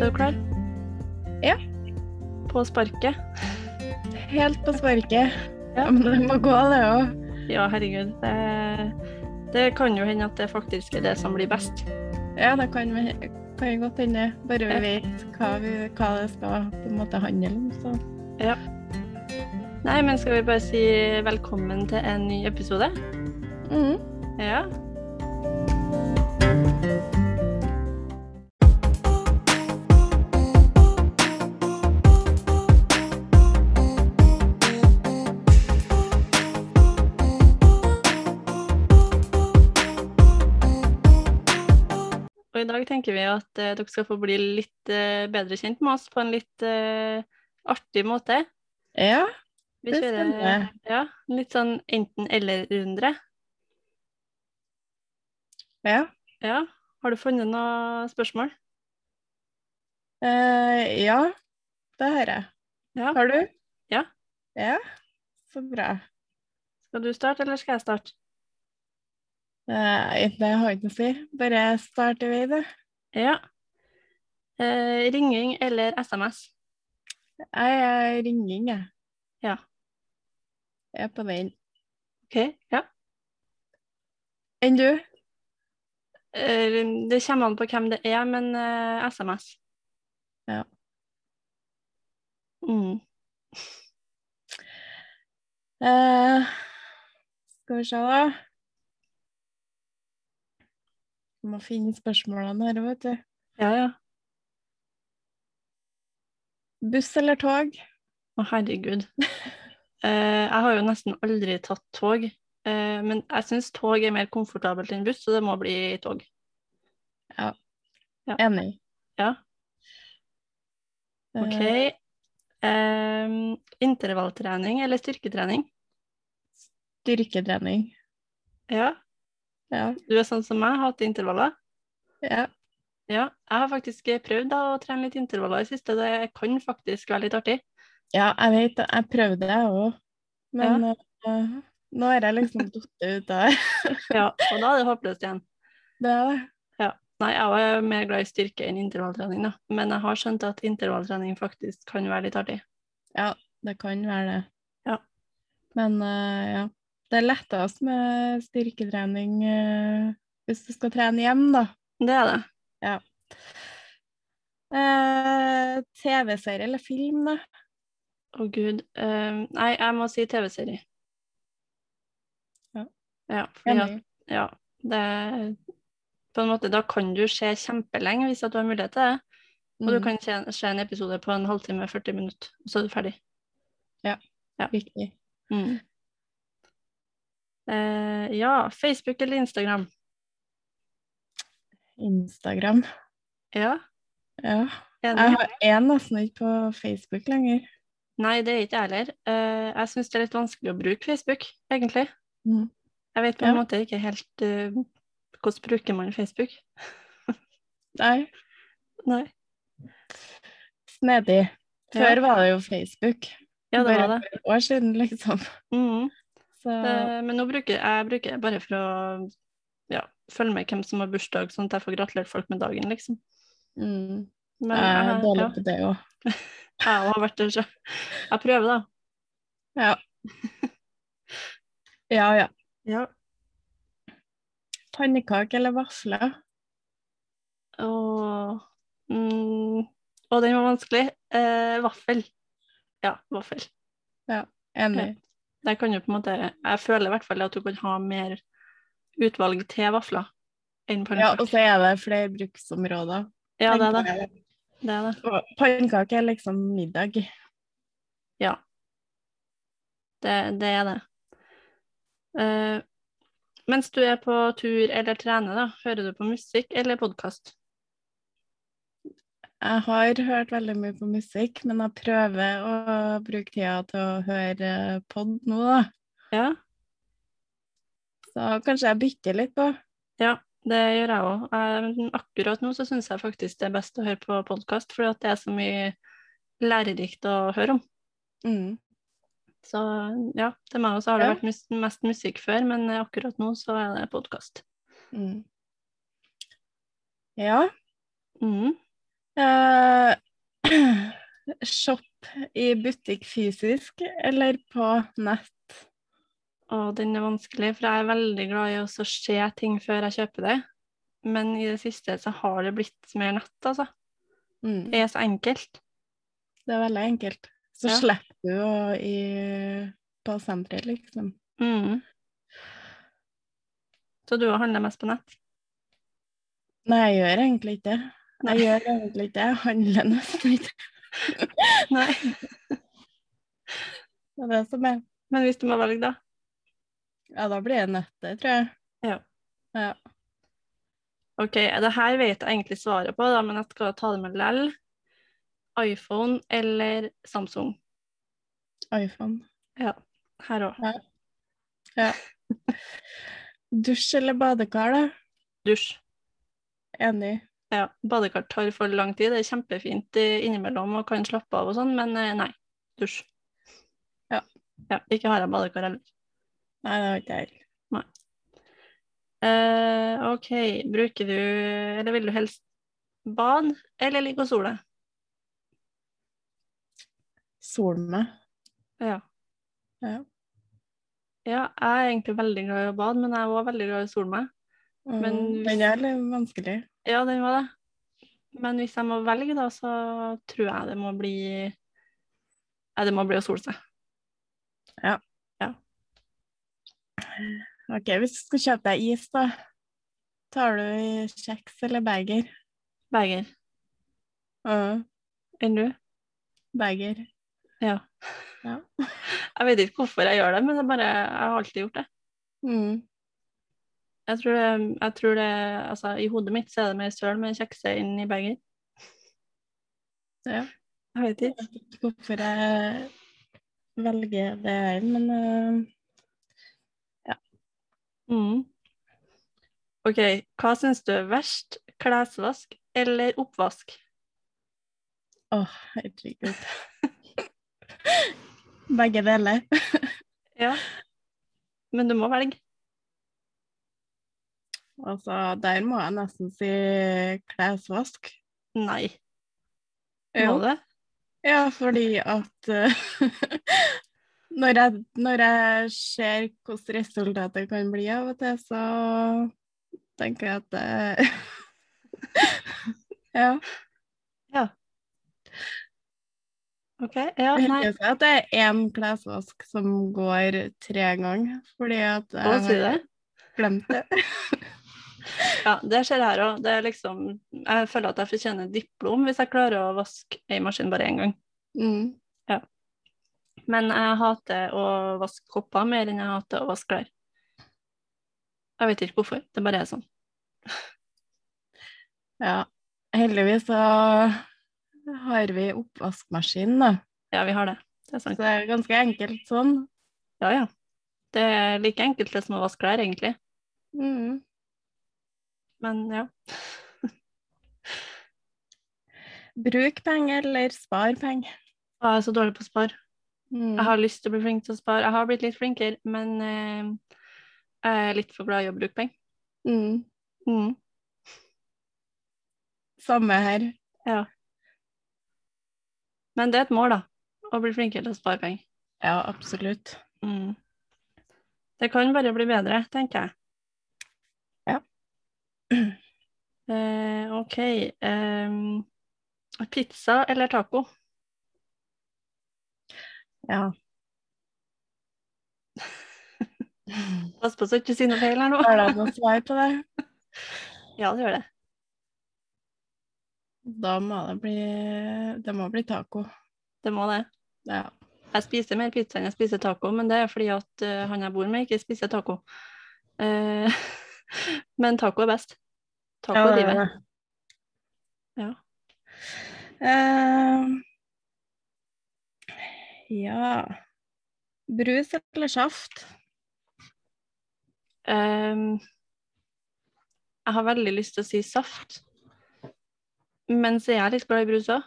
Er du klar? Ja. På sparket. Helt på sparket. Ja. Men det må gå, det òg. Ja, herregud. Det, det kan jo hende at det faktisk er det som blir best. Ja, det kan, vi, kan jo godt hende. Bare vi Ja. vet hva, vi, hva det skal på en måte handle om. Så. Nei, men skal vi bare si velkommen til en ny episode? Mhm. Mm-hmm. Ja. Og i dag tenker vi at eh, dere skal få bli litt eh, bedre kjent med oss på en litt eh, artig måte. Ja. Vi Det kjører stemmer. ja, en litt sånn enten-eller-runde. ja. Ja. Har du funnet noe spørsmål? Eh, ja, det har jeg. Ja. Har du? Ja. Ja, så bra. Skal du starte, eller skal jeg starte? Nei, det har Eh, jeg ikke noe å si. Bare start i vei, du. Ja. Eh, ringing eller SMS? Jeg er ringing, jeg. Ja. Jeg er på den. OK. Ja. Enn du? Eh, det kommer an på hvem det er, men eh, SMS. Ja. Mm. Eh, skal vi se, da. Jeg må finne spørsmålene her, vet du. Ja, ja. Buss eller tog? Å, herregud. Eh, jeg har jo nesten aldri tatt tog, eh, men jeg syns tog er mer komfortabelt enn buss, så det må bli tog. Enig. Ja. Eh, OK. Eh, intervalltrening eller styrketrening? Styrketrening. Ja. Ja. Du er sånn som meg, hater intervaller. ja. Ja, jeg har faktisk prøvd da, å trene litt intervaller i siste. Det kan faktisk være litt artig. Ja, jeg vet det. Jeg prøvde det òg, men eh, nå har jeg liksom falt ut av det. Ja, og da er det håpløst igjen. Det er det. Nei, jeg er mer glad i styrke enn intervalltrening, da. Men jeg har skjønt at intervalltrening faktisk kan være litt artig. Det kan være det. Ja. Men eh, ja. Det er lettest med styrketrening eh, hvis du skal trene hjem, da. Det er det. Eh, TV-serie eller film, da? Å gud. Eh, nei, jeg må si TV-serie. Ja. Ja, fordi at, Enig. ja, det På en måte, da kan du se kjempelenge hvis at du har mulighet til det. Og du Mm, kan se, se en episode på en halvtime, 40 minutter, og så er du ferdig. riktig. Mm. Eh, ja, Facebook eller Instagram? Instagram. Ja, Ja. Jeg enig. har én nesten ikke på Facebook lenger. Nei, det er ikke jeg heller. Eh, jeg syns det er litt vanskelig å bruke Facebook, egentlig. Mm. Jeg vet på en Ja. måte ikke helt eh, hvordan bruker man Facebook. Nei, Nei. snedig. Ja. Før var det jo Facebook. Ja, det Bare var det. for år siden, liksom. Mhm. Så Eh, men nå bruker jeg bruker det bare for å ja, følge med hvem som har bursdag, sånn at jeg får gratulert folk med dagen, liksom. mm, Men jeg jeg, er dårlig ja, på det òg. jeg har vært der, så jeg prøver, da. Ja. ja ja. Ja. Pannekake eller vafler? Og, mm, og den var vanskelig. Eh, vaffel. Ja, vaffel. Enig. Der kan du på en måte Jeg føler i hvert fall at du kan ha mer utvalg til vafler enn Ja, og pannekaker. så er det flere bruksområder. Ja, det er det. tenker jeg. det, er det. Og Pannekake er liksom middag. det, det, er det. Eh, mens du er på tur eller trener, da, hører du på musikk eller podkast? Jeg har hørt veldig mye på musikk, men jeg prøver å bruke tida til å høre pod nå, da. Ja, Så kanskje jeg bytter litt på. det gjør jeg òg. Akkurat nå så syns jeg faktisk det er best å høre på podkast, fordi at det er så mye lærerikt å høre om. Mm. Så ja, til meg også har det Ja. vært mus mest musikk før, men eh, akkurat nå så er det podkast. Mm. Ja. Mhm. Eh, Eh, shop i butikk fysisk eller på nett? Og den er vanskelig, for jeg er veldig glad i å så se ting før jeg kjøper det. Men i det siste så har det blitt mer nett, altså. Mm. Det er så enkelt. Det er veldig enkelt. Så Ja. slipper du å i, på senteret, liksom. Mm. Så du har handla mest på nett? Nei, jeg gjør egentlig ikke det. Nei. Jeg gjør egentlig ikke det. Jeg handler nesten ikke. Nei. Det er det som er. Men hvis du må velge, da? Ja, da blir det nettet, tror jeg. Ok, det her vet jeg egentlig svaret på, da, men jeg skal ta det med lell. iPhone eller Samsung? iPhone. Her òg. Dusj eller badekar, da? Dusj. Enig. Ja, badekar tar for lang tid. Det er kjempefint eh, innimellom og kan slappe av og sånn, men eh, nei. Dusj. Ja. ja. Ikke har jeg badekar heller. Nei, det var ikke jeg. Eh, ok, bruker du Eller vil du helst bad eller ligge og sole? Solme. Ja. Ja. ja, jeg er egentlig veldig glad i å bade, men jeg er òg veldig glad i å sole meg. Men Mm, hvis- Den er litt vanskelig. Ja, den var det. Men hvis jeg må velge, da, så tror jeg det må bli Nei, det må bli å sole seg. Ok, hvis du skal kjøpe deg is, da. Tar du i kjeks eller bager? Berger. Uh, Enn du? bager. Ja. Ja. Jeg vet ikke hvorfor jeg gjør det, men det er bare, jeg har alltid gjort det. Mm. Jeg tror det, jeg tror det altså, I hodet mitt så er det mer søl med kjekse enn i berger. Ja. Jeg vet ikke. Hvorfor jeg velger det her, men eh, Mm. OK, hva syns du er verst? Klesvask eller oppvask? Åh, herregud. Begge deler. Ja. Men du må velge. Altså, der må jeg nesten si klesvask. Nei. Må Jo. du det? Ja, fordi at eh, når, jeg, når jeg ser hvordan resultatet kan bli av og til, så tenker jeg at det Ja. OK. Ja, Det nei. hender seg at det er én klesvask som går tre ganger, fordi at Å, jeg sier du har det? glemt det. Ja, det skjer her òg. Liksom, jeg føler at jeg fortjener et diplom hvis jeg klarer å vaske ei maskin bare én gang. Mm. Men jeg hater å vaske kopper mer enn jeg hater å vaske klær. Jeg vet ikke hvorfor. Det bare er sånn. Ja. Heldigvis så har vi oppvaskmaskin, da. Ja, vi har det. Det er Så sant. det er ganske enkelt sånn. Ja, ja. Det er like enkelt det som å vaske klær, egentlig. Mm. Men ja. Bruk penger eller spar penger. Jeg er så dårlig på å spare. Mm. Jeg har lyst til å bli flink til å spare. Jeg har blitt litt flinkere, men eh, jeg er litt for glad i å bruke penger. Mm. Mm. Samme her. Men det er et mål, da. Å bli flinkere til å spare penger. Ja, absolutt. Mm. Det kan bare bli bedre, tenker jeg. Ja. Eh, ok. em, pizza eller taco? Ja. Pass på så ikke du sier noe feil her nå. Har du noe svar på det? Ja, det gjør det. Da må det bli Det må bli taco. Det må det. Ja. Jeg spiser mer pizza enn jeg spiser taco, men det er fordi at eh, han jeg bor med, ikke spiser taco. Eh, men taco er best. Taco Ja, er det er livet. det. Ja. Ehm, ja Brus eller saft? Ehm, jeg har veldig lyst til å si saft, men så er jeg litt glad i brus òg.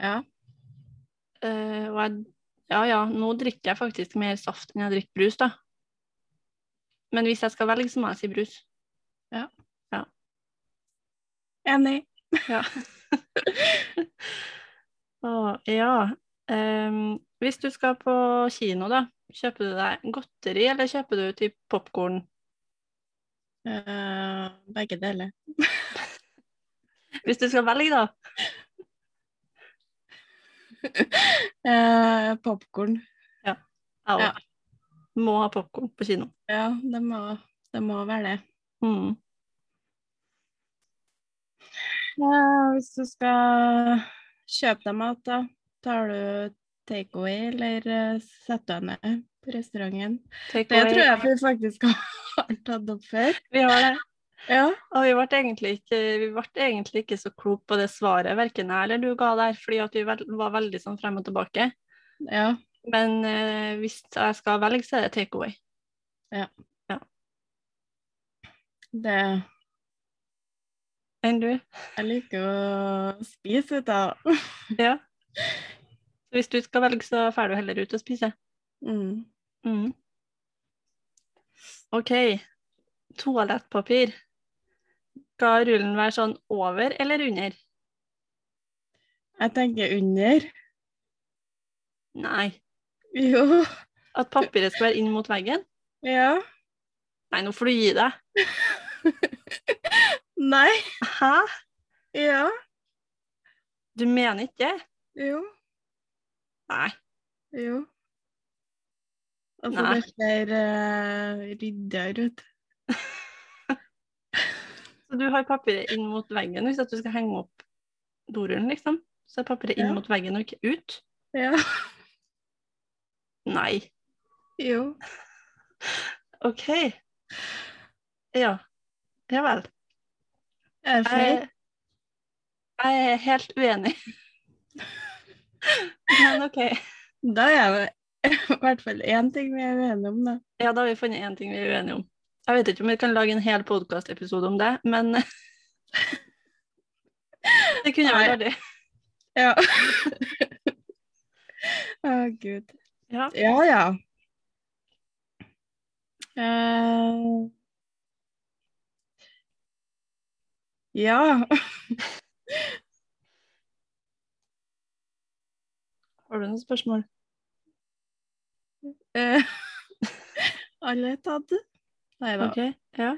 Ja. Eh, og jeg, ja ja, nå drikker jeg faktisk mer saft enn jeg drikker brus, da. Men hvis jeg skal velge, så må jeg si brus. Enig. Ja. Å, ja. Ehm, hvis du skal på kino, da, kjøper du deg godteri, eller kjøper du typ popkorn? Eh, begge deler. Hvis du skal velge, da. Uh, Popkorn. Jeg Ja. òg. Må ha popkorn på kino. Ja, det må, det må være det. Mm. Ja, hvis du skal kjøpe deg mat, da, tar du takeaway eller eh, setter deg ned på restauranten? Take Det away. tror jeg vi faktisk har tatt opp før. Vi har det. Ja. Og vi ble egentlig ikke, vi ble egentlig ikke så klok på det svaret, verken jeg eller du ga der, fordi at vi vel, var veldig sånn frem og tilbake. ja. Men eh, hvis jeg skal velge, så er det take away. Det Enn du? Jeg liker å spise ut av. Ja. Så hvis du skal velge, så drar du heller ut og spiser. Mm. Mm. OK. Toalettpapir. Skal rullen være sånn over eller under? Jeg tenker under. Nei. Jo. At papiret skal være inn mot veggen? Ja. Nei, nå får du gi deg. Nei. Hæ? Ja. Du mener ikke det? Jo. Nei. Jo. Altså, Nei. det ser uh, ryddigere ut. Så du har papiret inn mot veggen hvis at du skal henge opp dorullen, liksom? Så er papiret inn Ja. mot veggen og ikke ut? Ja. Nei. Jo. OK. Ja. Ja vel. Er det flere? Jeg, jeg er helt uenig. Men OK. Da er det i hvert fall én ting vi er uenige om, da. Ja, da har vi funnet én ting vi er uenige om. Jeg vet ikke om vi kan lage en hel podkastepisode om det, men Det kunne Nei. vært artig. Ja. Å, gud. Ja. Ja, ja. Eh, ja. Har du noen spørsmål? eh, alle er tatt. Nei da. OK. Ja.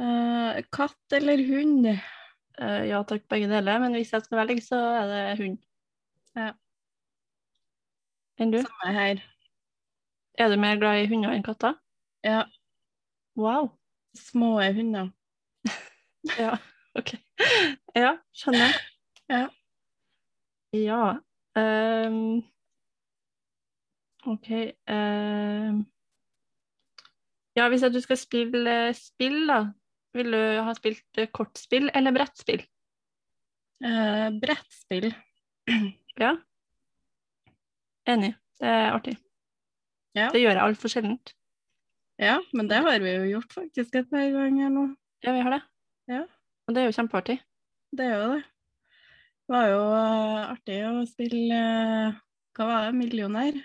Eh, katt eller hund? Eh, ja takk, begge deler. Men hvis jeg skal velge, så er det hund. Ja. Enn du? Samme her. Er du mer glad i hunder enn katter? Ja. Wow. Små hunder. Ja, OK. Ja, skjønner. Ja. Ja. ehm, OK ehm. Ja, hvis at du skal spille eh, spill, da. Vil du ha spilt eh, kortspill eller brettspill? Eh, brettspill. Ja. Enig. Det er artig. Ja. Det gjør jeg altfor sjeldent. Ja, men det har vi jo gjort faktisk et par ganger nå. Ja, vi har det. Ja. Og det er jo kjempeartig. Det er jo det. Det var jo eh, artig å spille eh, Hva var det? Millionær?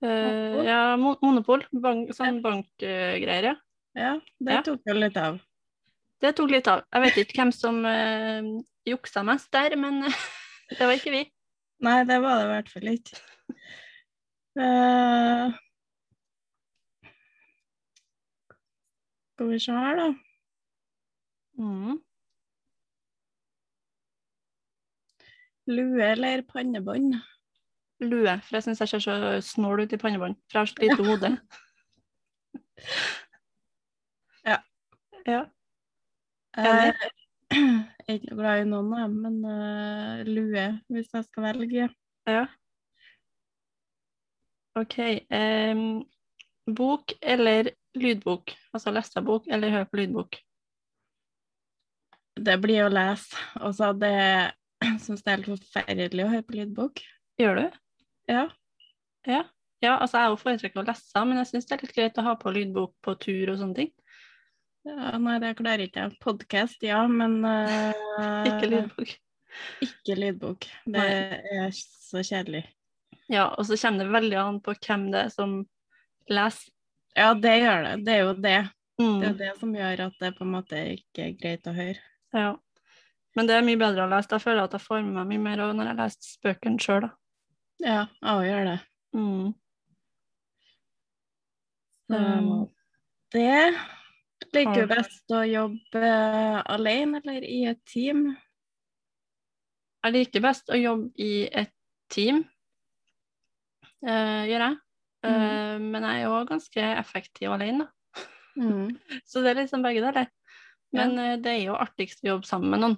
Eh, Monopol. ja, Mo- Monopol. Bank, sånn bankgreier, ja. Ja, det Ja. tok jo litt av. Det tok litt av. Jeg vet ikke hvem som eh, juksa mest der, men det var ikke vi. Nei, det var det i hvert fall ikke. Eh, skal vi se her, da. Mm. Lue eller pannebånd? Lue, for jeg syns jeg ser så snål ut i pannebånd, for jeg har så lite hode. Ja. Ja. Eh, jeg er ikke noe glad i noen av dem, men eh, lue hvis jeg skal velge. ja. OK. em, bok eller lydbok? Altså lese bok eller høre på lydbok? Det blir å lese. Altså, det syns det er helt forferdelig å høre på lydbok. Gjør du? Ja. Ja. ja altså, jeg er jo foretrekker å lese, men jeg syns det er litt greit å ha på lydbok på tur og sånne ting. Ja, nei, det klarer ikke jeg. Podkast, ja, men eh, Ikke lydbok. ikke lydbok. Det er så kjedelig. Ja, og så kommer det veldig an på hvem det er som leser. Ja, det gjør det. Det er jo det. Det er Mm, jo det som gjør at det på en måte ikke er greit å høre. ja. Men det er mye bedre å lese. Jeg føler at jeg får med meg mye mer av når jeg leser bøkene sjøl, da. Ja, avgjør det. Mm. Så Um, Mm. det ligger har- jo best å jobbe eh, alene eller i et team. jeg liker best å jobbe i et team, eh, gjør jeg. Eh, men jeg er jo også ganske effektiv alene, da. Mm. Så det er liksom begge deler. Ja. Men eh, det er jo artigst å jobbe sammen med noen.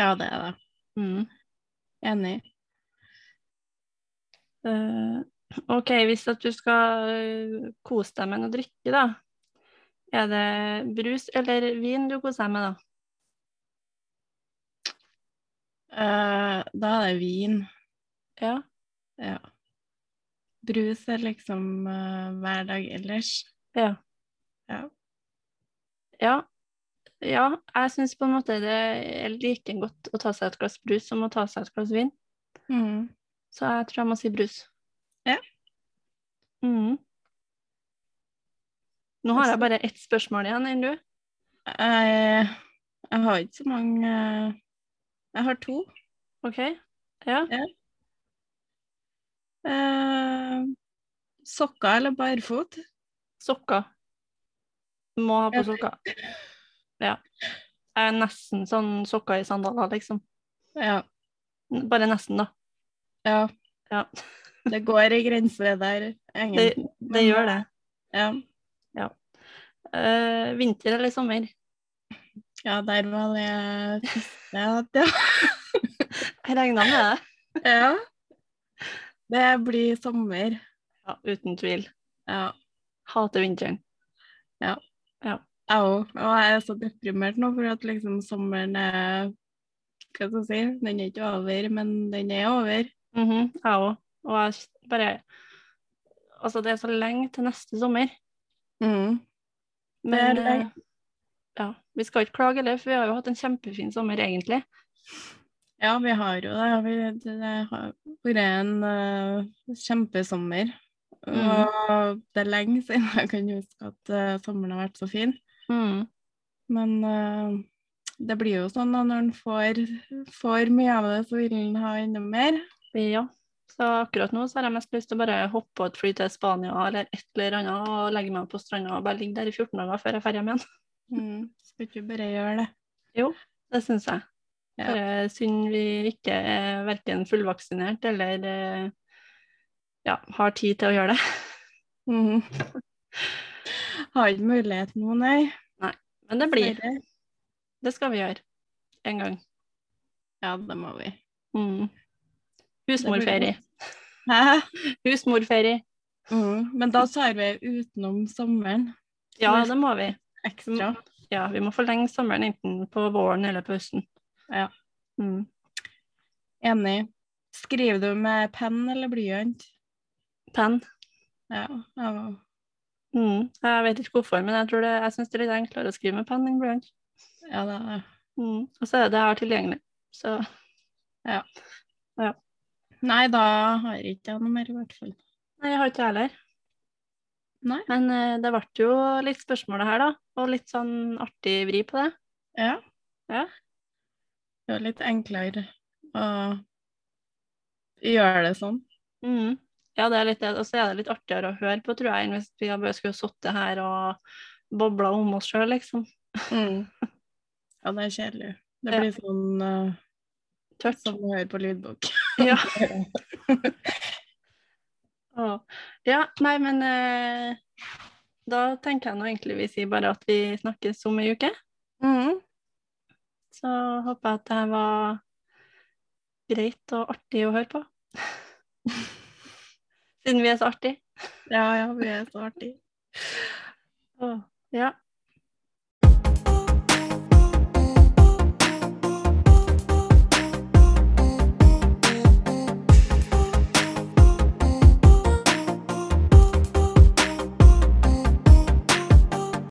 Ja, det er det. Mm. Enig. Eh, ok, hvis at du skal eh, kose deg med noe drikke, da. Er det brus eller vin du koser deg med, da? Eh, da er det vin. Ja. Ja. Brus er liksom eh, hver dag ellers. Ja, ja jeg syns på en måte det er like godt å ta seg et glass brus som å ta seg et glass vin. Mm. Så jeg tror jeg må si brus. Ja. Mhm. Nå har jeg bare ett spørsmål igjen enn du. Jeg, Eh, jeg har ikke så mange eh, Jeg har to. OK? Ja. Eh, sokker eller barfot? Sokker. Må ha på Ja. sokker. Ja. Jeg er nesten sånn sokker i sandaler, liksom. Ja. Bare nesten, da. ja. Ja. Det går i grense der, Det, egentlig. det gjør det. Ja. Eh, vinter eller sommer? ja, der var det siste at jeg Jeg regna med det. Ja. Det blir sommer. Ja, uten tvil. Ja. Hater vinteren. Jeg òg. Og jeg er så deprimert nå, for at liksom sommeren er Hva skal jeg si? Den er ikke over, men den er over. Mhm, jeg òg. Og jeg s- bare Altså, det er så lenge til neste sommer. Mm. Det er Men lenge. eh, ja, vi skal ikke klage heller, for vi har jo hatt en kjempefin sommer, egentlig. Ja, vi har jo det. Vi, det har vært en eh, kjempesommer. Mhm. Og det er lenge siden jeg kan huske at eh, sommeren har vært så fin. Mm. Men eh, det blir jo sånn da, når en får, får mye av det, så vil en ha enda mer. Ja. Så akkurat nå så har jeg mest lyst til å bare hoppe på et fly til Spania eller et eller annet og legge meg på stranda og bare ligge der i 14 dager før jeg drar hjem igjen. Mm. Skal ikke bare gjøre det. Det syns jeg. Ja. Bare synd vi ikke er verken fullvaksinert eller eh, ja, har tid til å gjøre det. Mhm. Har ikke mulighet nå, nei. Men det blir. Dessverre. Det skal vi gjøre. En gang. Ja, det må vi. Mm. Det blir Husmorferie. Hæ? Husmorferie. Mhm. Men da tar vi utenom sommeren Ja, det må vi. Mm. ekstra. Ja, vi må forlenge sommeren enten på våren eller på høsten. Ja. Mm. Enig. Skriver du med penn eller blyant? Penn. Ja. ja. Mm. Jeg vet ikke hvorfor, men jeg, tror det, jeg syns det er litt enklere å skrive med penn enn blyant. ja det er det. Mm. Og så er det her tilgjengelig. Så Nei, da har jeg ikke noe mer, i hvert fall. nei, jeg har ikke det heller. Nei. Men eh, det ble jo litt spørsmål her, da. Og litt sånn artig vri på det. Ja. Ja. Det var litt enklere å gjøre det sånn. Mm. Ja, det er litt det. Og så er det litt artigere å høre på, tror jeg, enn hvis vi bare skulle sittet her og bobla om oss sjøl, liksom. Ja, det er kjedelig. Det Ja. blir sånn eh, Tørt. som å høre på lydbok. Ja. Å. ja, nei, men eh, da tenker jeg nå egentlig vi sier bare at vi snakkes om ei uke. Så håper jeg at det her var greit og artig å høre på. Siden vi er så artige. Ja, ja, vi er så artige. Å, Ja.